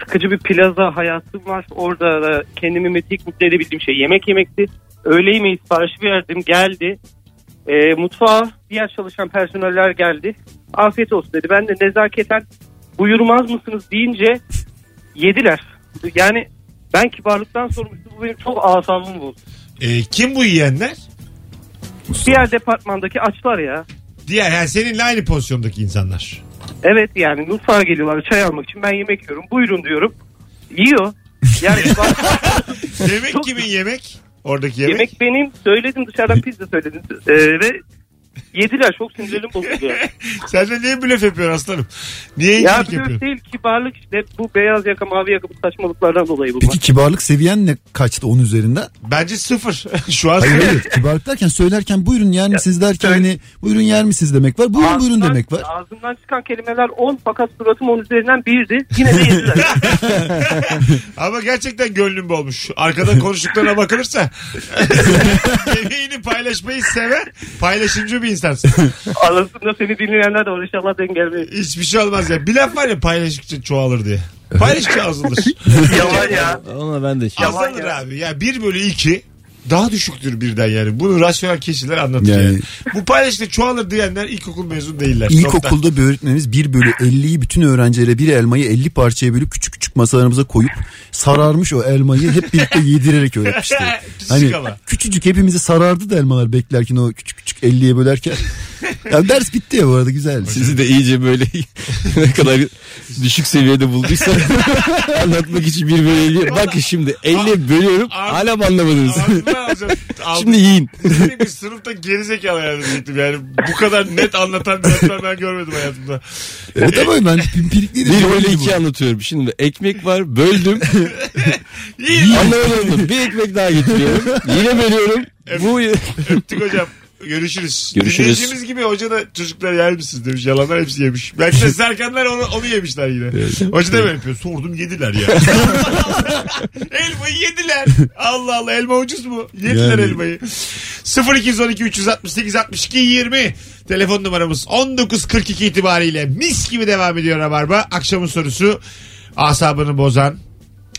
F: sıkıcı bir plaza hayatım var. Orada da kendimi metik mutlu edebildiğim şey yemek yemekti. Öğle yemeği siparişi verdim geldi. Ee, mutfağa diğer çalışan personeller geldi. Afiyet olsun dedi. Ben de nezaketen buyurmaz mısınız deyince yediler. Yani ben kibarlıktan sormuştum. Bu benim çok asabımı bozdu.
B: Ee, kim bu yiyenler?
F: Diğer departmandaki açlar ya.
B: Diğer yani seninle aynı pozisyondaki insanlar.
F: Evet yani mutfağa geliyorlar çay almak için ben yemek yiyorum. Buyurun diyorum. Yiyor. Yani bak,
B: Yemek kimin yemek? Oradaki yemek.
F: yemek benim söyledim dışarıdan pizza söyledim. Ee, ve yediler çok sinirlerim bozuldu. yani.
B: Sen de niye blöf yapıyorsun aslanım? Niye
F: ya
B: iyilik
F: blöf
B: yapıyorsun?
F: değil kibarlık işte bu beyaz yaka mavi yaka bu saçmalıklardan dolayı bunlar.
C: Peki kibarlık seviyen ne kaçtı onun üzerinden?
B: Bence sıfır. Şu an
C: Hayır hayır. kibarlık derken söylerken buyurun yer misiniz derken hani buyurun yer misiniz demek var. Buyurun buyurun
F: Ağzımdan-
C: demek var.
F: Ağzımdan çıkan kelimeler 10 fakat suratım 10 üzerinden 1'di. Yine de yediler.
B: Ama gerçekten gönlüm olmuş. Arkadan konuştuklarına bakılırsa yemeğini paylaşmayı seven paylaşımcı bir insansın.
F: Arasında seni dinleyenler de var inşallah denk gelmeyiz.
B: Hiçbir şey olmaz ya. Bir laf var ya paylaştıkça çoğalır diye. Paylaştıkça azalır.
F: Yalan ya.
D: Ona ben de şey.
F: Yalan
B: Azalır
F: ya.
B: abi. Ya 1 bölü 2 daha düşüktür birden yani. Bunu rasyonel kişiler anlatır yani.
C: Yani.
B: Bu paylaştıkça çoğalır diyenler ilkokul mezun değiller. Nokta.
C: İlkokulda bir öğretmenimiz 1 bölü 50'yi bütün öğrencilere bir elmayı 50 parçaya bölüp küçük küçük masalarımıza koyup sararmış o elmayı hep birlikte yedirerek öğretmişti.
B: Pislik
C: Hani
B: ama.
C: küçücük hepimizi sarardı da elmalar beklerken o küçük küçük 50'ye bölerken. Ya ders bitti ya bu arada güzel.
D: Sizi de iyice böyle ne kadar düşük seviyede bulduysa anlatmak için bir böyle elli- Bakın şimdi 50 bölüyorum hala mı anlamadınız? Şimdi yiyin.
B: Seni hani bir sınıfta gerizekalı hayatım diyecektim yani. Bu kadar net anlatan bir öğretmen ben görmedim hayatımda.
C: E tabii ben pimpirikli
D: Bir böyle iki anlatıyorum. Şimdi ekmek var böldüm.
B: İyi.
D: Anlamadım. Bir ekmek daha getiriyorum. Yine bölüyorum. Bu
B: Öptük hocam. Görüşürüz.
D: Görüşürüz.
B: Dinleyicimiz gibi hoca da çocuklar yer misiniz demiş. Yalanlar hepsi yemiş. Belki de serkenler onu, onu yemişler yine. Hoca da böyle yapıyor. Sordum yediler ya. elmayı yediler. Allah Allah elma ucuz mu? Yediler
C: Yani.
B: elmayı. 0212 368 62 20 telefon numaramız 19.42 itibariyle mis gibi devam ediyor Rabarba. Akşamın sorusu asabını bozan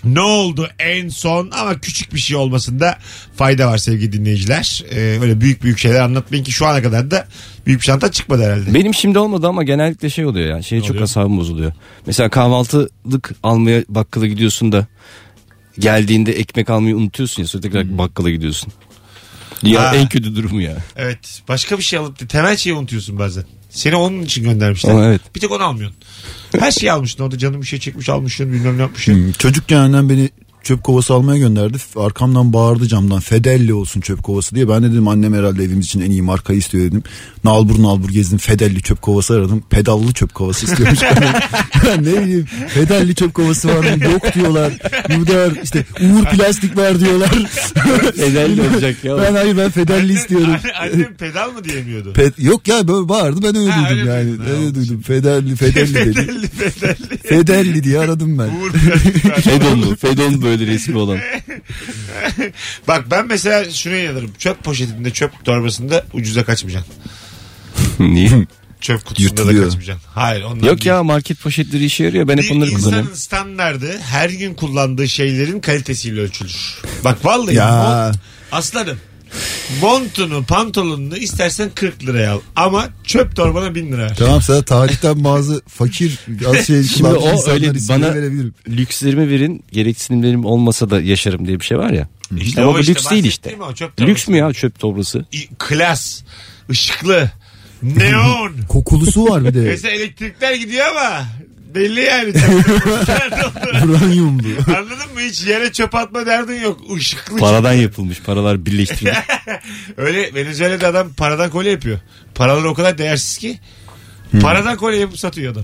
B: ne oldu en son ama küçük bir şey olmasında fayda var sevgili dinleyiciler. Ee, öyle büyük büyük şeyler anlatmayın ki şu ana kadar da büyük bir şanta çıkmadı herhalde.
D: Benim şimdi olmadı ama genellikle şey oluyor yani. Şeye çok
B: oluyor?
D: asabım bozuluyor. Mesela kahvaltılık almaya bakkala gidiyorsun da geldiğinde ekmek almayı unutuyorsun ya sonra tekrar bakkala gidiyorsun. Ya
B: Ha.
D: en kötü durumu ya.
B: Evet başka bir şey alıp temel şeyi unutuyorsun bazen. Seni onun için göndermişler.
D: Ama evet.
B: Bir tek onu almıyorsun. Her şeyi almışsın orada canım bir şey çekmiş almışsın bilmem ne yapmışsın.
C: Hmm, Çocukken annem beni çöp kovası almaya gönderdi. Arkamdan bağırdı camdan Fedelli olsun çöp kovası diye. Ben de dedim annem herhalde evimiz için en iyi markayı istiyor dedim. Nalbur nalbur gezdim Fedelli çöp kovası aradım. Pedallı çöp kovası istiyormuş. Ben ne bileyim Fedelli çöp kovası var mı? Yok diyorlar. Burada işte Uğur plastik var diyorlar.
D: Fedelli olacak ya.
C: Ben hayır ben Fedelli istiyorum.
B: Anne- Annem pedal mı diyemiyordu?
C: Pe- yok ya böyle bağırdı ben öyle
B: Ha,
C: duydum
B: öyle
C: yani.
B: mi? Ha,
C: Öyle
B: olmuş.
C: duydum. Fedelli Fedelli dedi.
B: Fedelli fedelli.
C: Fedelli diye aradım ben.
B: Uğur plastik var.
D: Fedonlu. Fedon böyle resmi olan.
B: Bak ben mesela şuna inanırım. Çöp poşetinde çöp torbasında ucuza kaçmayacaksın.
D: Niye?
B: Çöp kutusunda da
C: Yırtılıyor.
B: kaçmayacaksın. Hayır ondan
D: Yok
B: değil.
D: ya market poşetleri işe yarıyor. Ben hep
B: Bir
D: onları kullanıyorum.
B: insanın standardı her gün kullandığı şeylerin kalitesiyle ölçülür. Bak vallahi
C: Ya.
B: mont, aslanım montunu pantolonunu istersen 40 liraya al ama çöp torbana 1000 lira ver.
C: Tamam sana tarihten bazı fakir az şey
D: Şimdi
C: kullanmış
D: o
C: insanlar
D: öyle
C: isimleri
D: bana-
C: verebilirim.
D: Lükslerimi verin gereksinimlerim olmasa da yaşarım diye bir şey var ya.
B: İşte
D: Ama
B: o
D: bu
B: işte
D: lüks değil işte.
B: bahsettiğim o, çöp torbası.
D: Lüks mü ya çöp torbası?
B: İ- Klas, ışıklı, neon.
C: Kokulusu var bir de.
B: Mesela elektrikler gidiyor ama belli yani.
C: Uranyum bu.
B: Anladın mı? Hiç yere çöp atma derdin yok. Işıklı.
D: Paradan yapılmış paralar birleştirilmiş.
B: Öyle Venezuela'da adam paradan kolye yapıyor. Paralar o kadar değersiz ki.
D: Hmm.
B: Paradan kolye yapıp satıyor adam.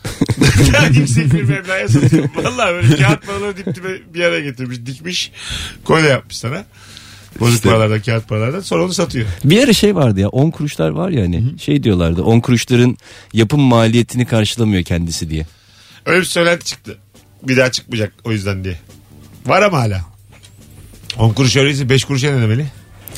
B: Daha yüksek bir meblağa satıyor. Valla böyle kağıt paraları dip dibe bir araya getirmiş. Dikmiş. Kolye yapmış sana. Bozuk paralardan, kağıt paralardan. Sonra onu satıyor.
D: Bir ara şey vardı ya 10 kuruşlar var ya hani şey diyorlardı 10 kuruşların yapım maliyetini karşılamıyor kendisi diye.
B: Öyle bir söylenti çıktı. Bir daha çıkmayacak o yüzden diye. Var ama hala. 10 kuruş öyleyse 5 kuruşa ne demeli?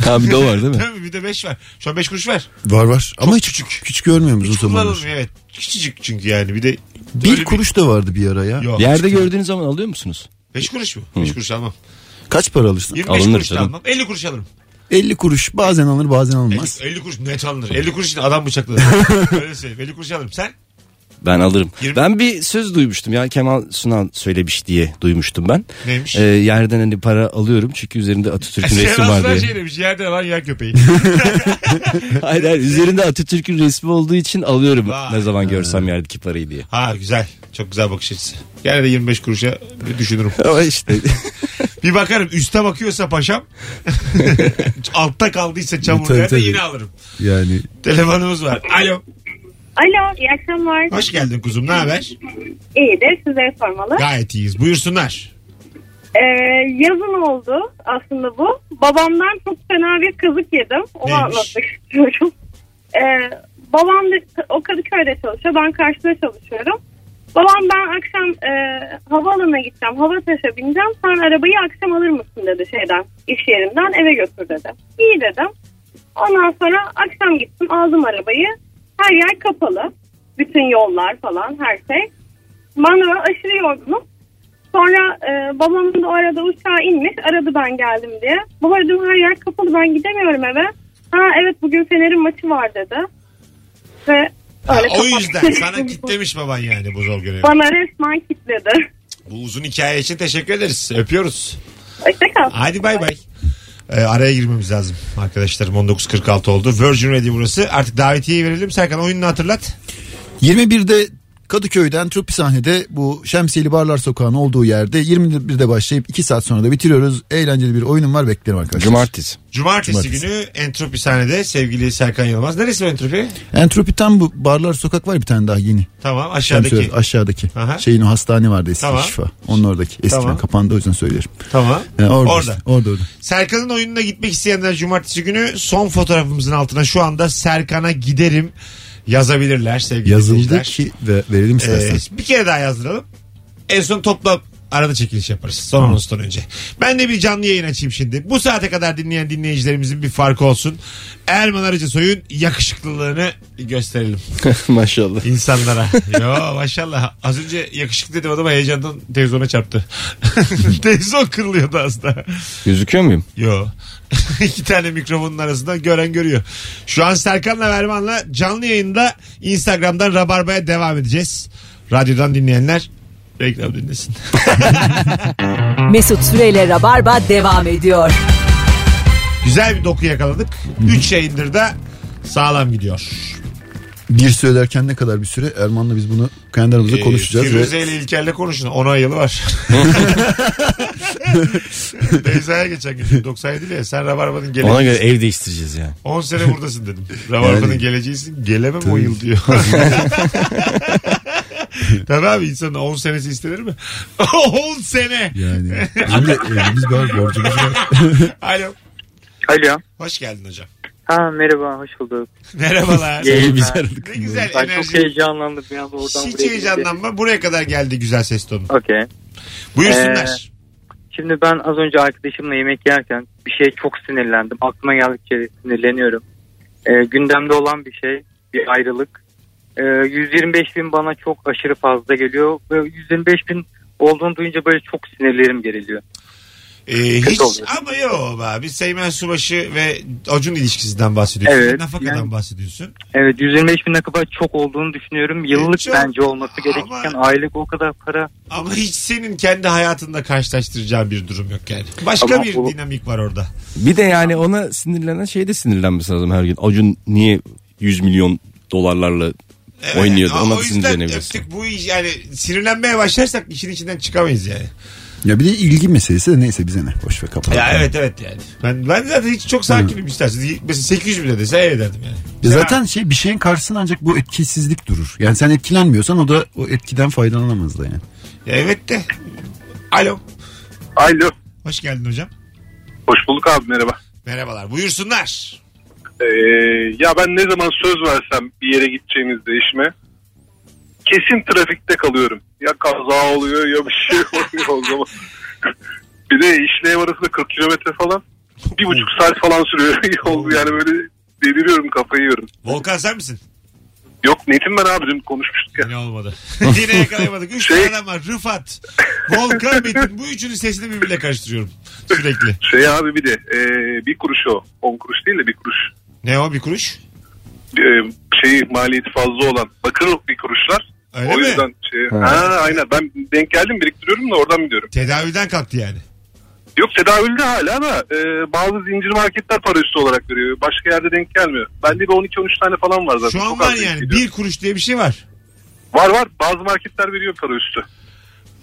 D: Ha bir de o var değil mi?
B: Tabii bir de 5 var. Şu an 5 kuruş var.
C: Var var. Ama hiç
B: küçük.
C: küçük. Küçük görmüyor musun zamanlar?
B: Kullanılmıyor evet. Küçücük çünkü yani. Bir de öyle
C: Bir kuruş da vardı bir ara ya.
B: Yok.
D: Yerde gördüğünüz zaman alıyor musunuz?
B: 5 kuruş mu? 5 kuruş almam.
C: Kaç para alırsın?
B: 25
D: Alınır
B: kuruş da
D: canım.
B: almam. 50 kuruş alırım.
C: 50 kuruş bazen alır bazen
B: 50,
C: almaz.
B: 50 kuruş net alınır. 50 kuruş için adam bıçakladı. Öyle söyleyeyim. 50 kuruş alırım. Sen?
D: Ben alırım.
B: Yirmi-
D: Ben bir söz duymuştum ya Kemal Sunal söylemiş diye duymuştum ben.
B: Neymiş?
D: Ee, yerden hani para alıyorum çünkü üzerinde Atatürk'ün resmi var
B: Şenazlar
D: diye.
B: şey demiş. Yerde lan yer köpeği.
D: Hayır hayır üzerinde Atatürk'ün resmi olduğu için alıyorum
B: Vay.
D: ne zaman görsem yerdeki parayı diye.
B: ha güzel. Çok güzel bakış açısı. Gene de 25 kuruşa bir düşünürüm.
D: Ama işte
B: Bir bakarım üste bakıyorsa paşam altta kaldıysa çamur
C: Tabii,
B: yerde
C: tabii.
B: yine alırım.
C: Yani
B: Telefonumuz var. Alo.
M: Alo iyi akşamlar.
B: Hoş geldin kuzum. Ne haber?
M: İyidir sizlere sormalı.
B: Gayet iyiyiz. Buyursunlar.
M: Ee, yazın oldu aslında bu. Babamdan çok fena bir kazık yedim. Onu
B: Neymiş?
M: anlatmak istiyorum. Ee, babam da, o Kadıköy'de çalışıyor. Ben karşıda çalışıyorum. Babam ben akşam e, havaalanına gideceğim. Hava taşa bineceğim. Sen arabayı akşam alır mısın dedi şeyden. iş yerinden eve götür dedi. İyi dedim. Ondan sonra akşam gittim aldım arabayı. Her yer kapalı. Bütün yollar falan her şey. Manava aşırı yorgunum. Sonra e, babamın da o arada uçağa inmiş. Aradı ben geldim diye. Baba dedim her yer kapalı ben gidemiyorum eve. Ha evet bugün Fener'in maçı var dedi. Ve
B: Ha,
M: öyle
B: o
M: kapattı.
B: yüzden sana git demiş baban yani bu zor görevi.
M: Bana resmen kitledi.
B: Bu uzun hikaye için teşekkür ederiz. Öpüyoruz.
M: Hoşçakal.
B: Hadi bay bay. Ee, araya girmemiz lazım arkadaşlarım. 19.46 oldu. Virgin Radio burası. Artık davetiye verelim. Serkan oyununu hatırlat.
C: 21'de Kadıköy'de Entropi sahnede bu Şemsiyeli Barlar Sokağı'nın olduğu yerde 21'de başlayıp 2 saat sonra da bitiriyoruz. Eğlenceli bir oyunum var beklerim arkadaşlar.
D: Cumartesi.
B: Cumartesi,
C: Cumartesi.
B: günü Entropi sahnede sevgili Serkan Yılmaz. Neresi bu Entropi?
C: Entropi tam bu Barlar Sokak var bir tane daha yeni.
B: Tamam aşağıdaki.
C: Şemsiye- aşağıdaki.
B: Aha.
C: Şeyin o hastane vardı eski
B: Tamam.
C: şifa. Onun oradaki. Eskiden
B: Tamam.
C: kapandı o yüzden söylüyorum.
B: Tamam.
C: Yani orada.
B: Orada.
C: işte, orada orada.
B: Serkan'ın oyununa gitmek isteyenler cumartesi günü son fotoğrafımızın altına şu anda Serkan'a giderim yazabilirler sevgili
C: Yazıldı
B: dinleyiciler.
C: ki ve verelim istersen.
B: Ee, bir kere daha yazdıralım. En son toplam arada çekiliş yaparız. Son anonstan önce. Ben de bir canlı yayın açayım şimdi. Bu saate kadar dinleyen dinleyicilerimizin bir farkı olsun. Erman Arıcı Soy'un yakışıklılığını gösterelim
D: Maşallah.
B: insanlara. Yo maşallah. Az önce yakışıklı dedim adama heyecandan televizyona çarptı. Televizyon kırılıyordu az daha.
D: Gözüküyor muyum?
B: Yo. İki tane mikrofonun arasında gören görüyor. Şu an Serkan'la Verman'la canlı yayında Instagram'dan Rabarba'ya devam edeceğiz. Radyodan dinleyenler reklam dinlesin.
A: Mesut Süreyle Rabarba devam ediyor.
B: Güzel bir doku yakaladık. 3 yayındır da sağlam gidiyor.
C: Bir süre derken ne kadar bir süre Erman'la biz bunu kendi aramızda
B: Ee,
C: konuşacağız. ve-
B: Firuze ile İlker'le konuşun. Ona yılı var. Beyza'ya geçen gün. 97 ile sen Rabarba'nın geleceği.
D: Ona göre ev değiştireceğiz yani.
B: 10 sene buradasın dedim. Rabarba'nın
C: Yani-
B: geleceğisin. Gelemem o yıl diyor. Tabii abi insanın 10 senesi istenir mi? 10 sene.
C: Yani. Bizim de evimiz var, borcumuz var.
B: Alo.
I: Alo.
B: Hoş geldin hocam.
I: Ha merhaba hoş bulduk.
B: Merhabalar.
I: Yayınlar.
D: Biz aradık.
B: ne güzel
I: Ben çok
B: enerji.
I: heyecanlandım ya oradan buraya.
B: Hiç
I: gelince.
B: heyecanlanma. Buraya kadar geldi güzel ses tonu.
I: Okey.
B: Buyursunlar.
I: Şimdi ben az önce arkadaşımla yemek yerken bir şeye çok sinirlendim. Aklıma geldikçe sinirleniyorum. Ee, gündemde olan bir şey, bir ayrılık. Ee, 125 bin bana çok aşırı fazla geliyor. Ve 125 bin olduğunu duyunca böyle çok sinirlerim geriliyor.
B: Ee, hiç
I: oluyor.
B: ama yok be abi. Seymen Subaşı ve Acun ilişkisinden bahsediyorsun.
I: Evet,
B: Nafakadan
I: yani-
B: bahsediyorsun.
I: Evet 125 bin ne kadar çok olduğunu düşünüyorum. Yıllık
B: çok.
I: bence olması
B: Ama-
I: gerekirken aylık o kadar para.
B: Ama hiç senin kendi hayatında karşılaştıracağın bir durum yok yani. Başka
I: Ama
B: bir
I: bu-
B: dinamik var orada.
D: Bir de yani ona sinirlenen şey de sinirlenmesi lazım her gün. Acun niye 100 milyon dolarlarla oynuyordu?
B: Ama
D: Ona
B: o
D: da
B: yüzden
D: sinirlenebilirsin.
B: öptük bu iş yani sinirlenmeye başlarsak işin içinden çıkamayız yani.
C: Ya bir de ilgi meselesi de neyse bize ne. Boş ver kapatalım.
B: Ya evet evet yani. Ben ben zaten hiç çok sakinim istersen. Mesela 800 bile dese evet derdim yani.
C: Ya zaten şey bir şeyin karşısında ancak bu etkisizlik durur. Yani sen etkilenmiyorsan o da o etkiden faydalanamaz da yani.
B: Ya evet de. Alo.
K: Alo.
B: Hoş geldin hocam.
K: Hoş bulduk abi merhaba.
B: Merhabalar. Buyursunlar.
K: Ee, ya ben ne zaman söz versem bir yere gideceğimizde eşime kesin trafikte kalıyorum. Ya kaza oluyor ya bir şey oluyor o zaman. bir de işle ev arasında 40 kilometre falan. Bir buçuk saat falan sürüyor yol yani böyle deliriyorum kafayı yiyorum.
B: Volkan sen misin?
K: Yok Metin ben abi dün konuşmuştuk ya.
B: Yine olmadı. Yine yakalayamadık. Üç
K: Şey-
B: tane adam var. Rıfat, Volkan, Metin. Bu üçünün sesini birbirine karıştırıyorum. Sürekli.
K: Şey abi bir de e, bir kuruş o. 10 kuruş değil de bir kuruş.
B: Ne o bir kuruş?
K: E, şey maliyeti fazla olan bakır bir kuruşlar.
B: Öyle
K: o
B: mi?
K: yüzden şey,
D: Ha.
K: ha. aynen ben denk geldim biriktiriyorum da oradan biliyorum.
B: Tedaviden kalktı yani.
K: Yok tedavülde hala da e, bazı zincir marketler para üstü olarak veriyor. Başka yerde denk gelmiyor. Bende bir 12-13 tane falan var zaten.
B: Şu an
K: Çok
B: var
K: az denk
B: yani.
K: geliyor.
B: Bir kuruş diye bir şey var.
K: Var var bazı marketler veriyor para üstü.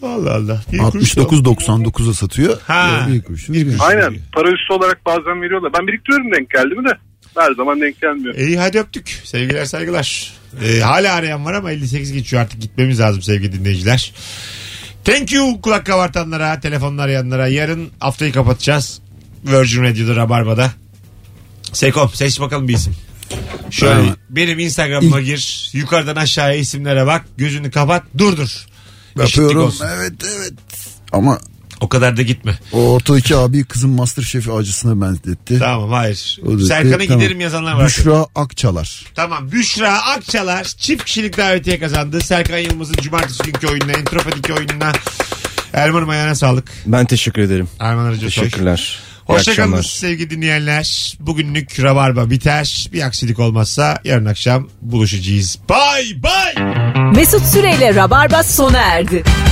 B: Allah Allah. Bir kuruş da-
C: 69.99'a satıyor.
B: Ha.
C: Ya Bir kuruş. Bir kuruş.
K: Aynen para üstü olarak bazen veriyorlar. Ben biriktiriyorum denk geldi mi de her zaman denk gelmiyor.
B: İyi hadi öptük. Sevgiler saygılar. Ee, hala arayan var ama 58 geçiyor artık gitmemiz lazım sevgili dinleyiciler. Thank you kulak kabartanlara, telefonlar arayanlara. Yarın haftayı kapatacağız. Virgin Radio'da Rabarba'da. Sekom seç bakalım bir isim. Şöyle
C: Tamam.
B: benim Instagram'ıma gir. Yukarıdan aşağıya isimlere bak. Gözünü kapat. Durdur. Eşitlik
C: Yapıyorum.
B: olsun.
C: Evet evet. Ama
B: O kadar da gitme.
C: o ortadaki abi kızın Masterchef acısına benzetti.
B: Tamam hayır.
C: O da-
B: Serkan'a
C: Evet, tamam.
B: giderim yazanlar var.
C: Büşra Akçalar.
B: Tamam Büşra Akçalar çift kişilik davetiye kazandı. Serkan Yılmaz'ın cumartesi günkü oyununa, Entropatik oyununa. Erman'ım ayağına sağlık.
D: Ben teşekkür ederim.
B: Erman Arıcı Soy.
D: Teşekkürler. İyi
B: Hoşçakalın
D: akşamlar.
B: sevgili dinleyenler. Bugünlük Rabarba biter. Bir aksilik olmazsa yarın akşam buluşacağız. Bay bay.
A: Mesut Süreyle Rabarba sona erdi.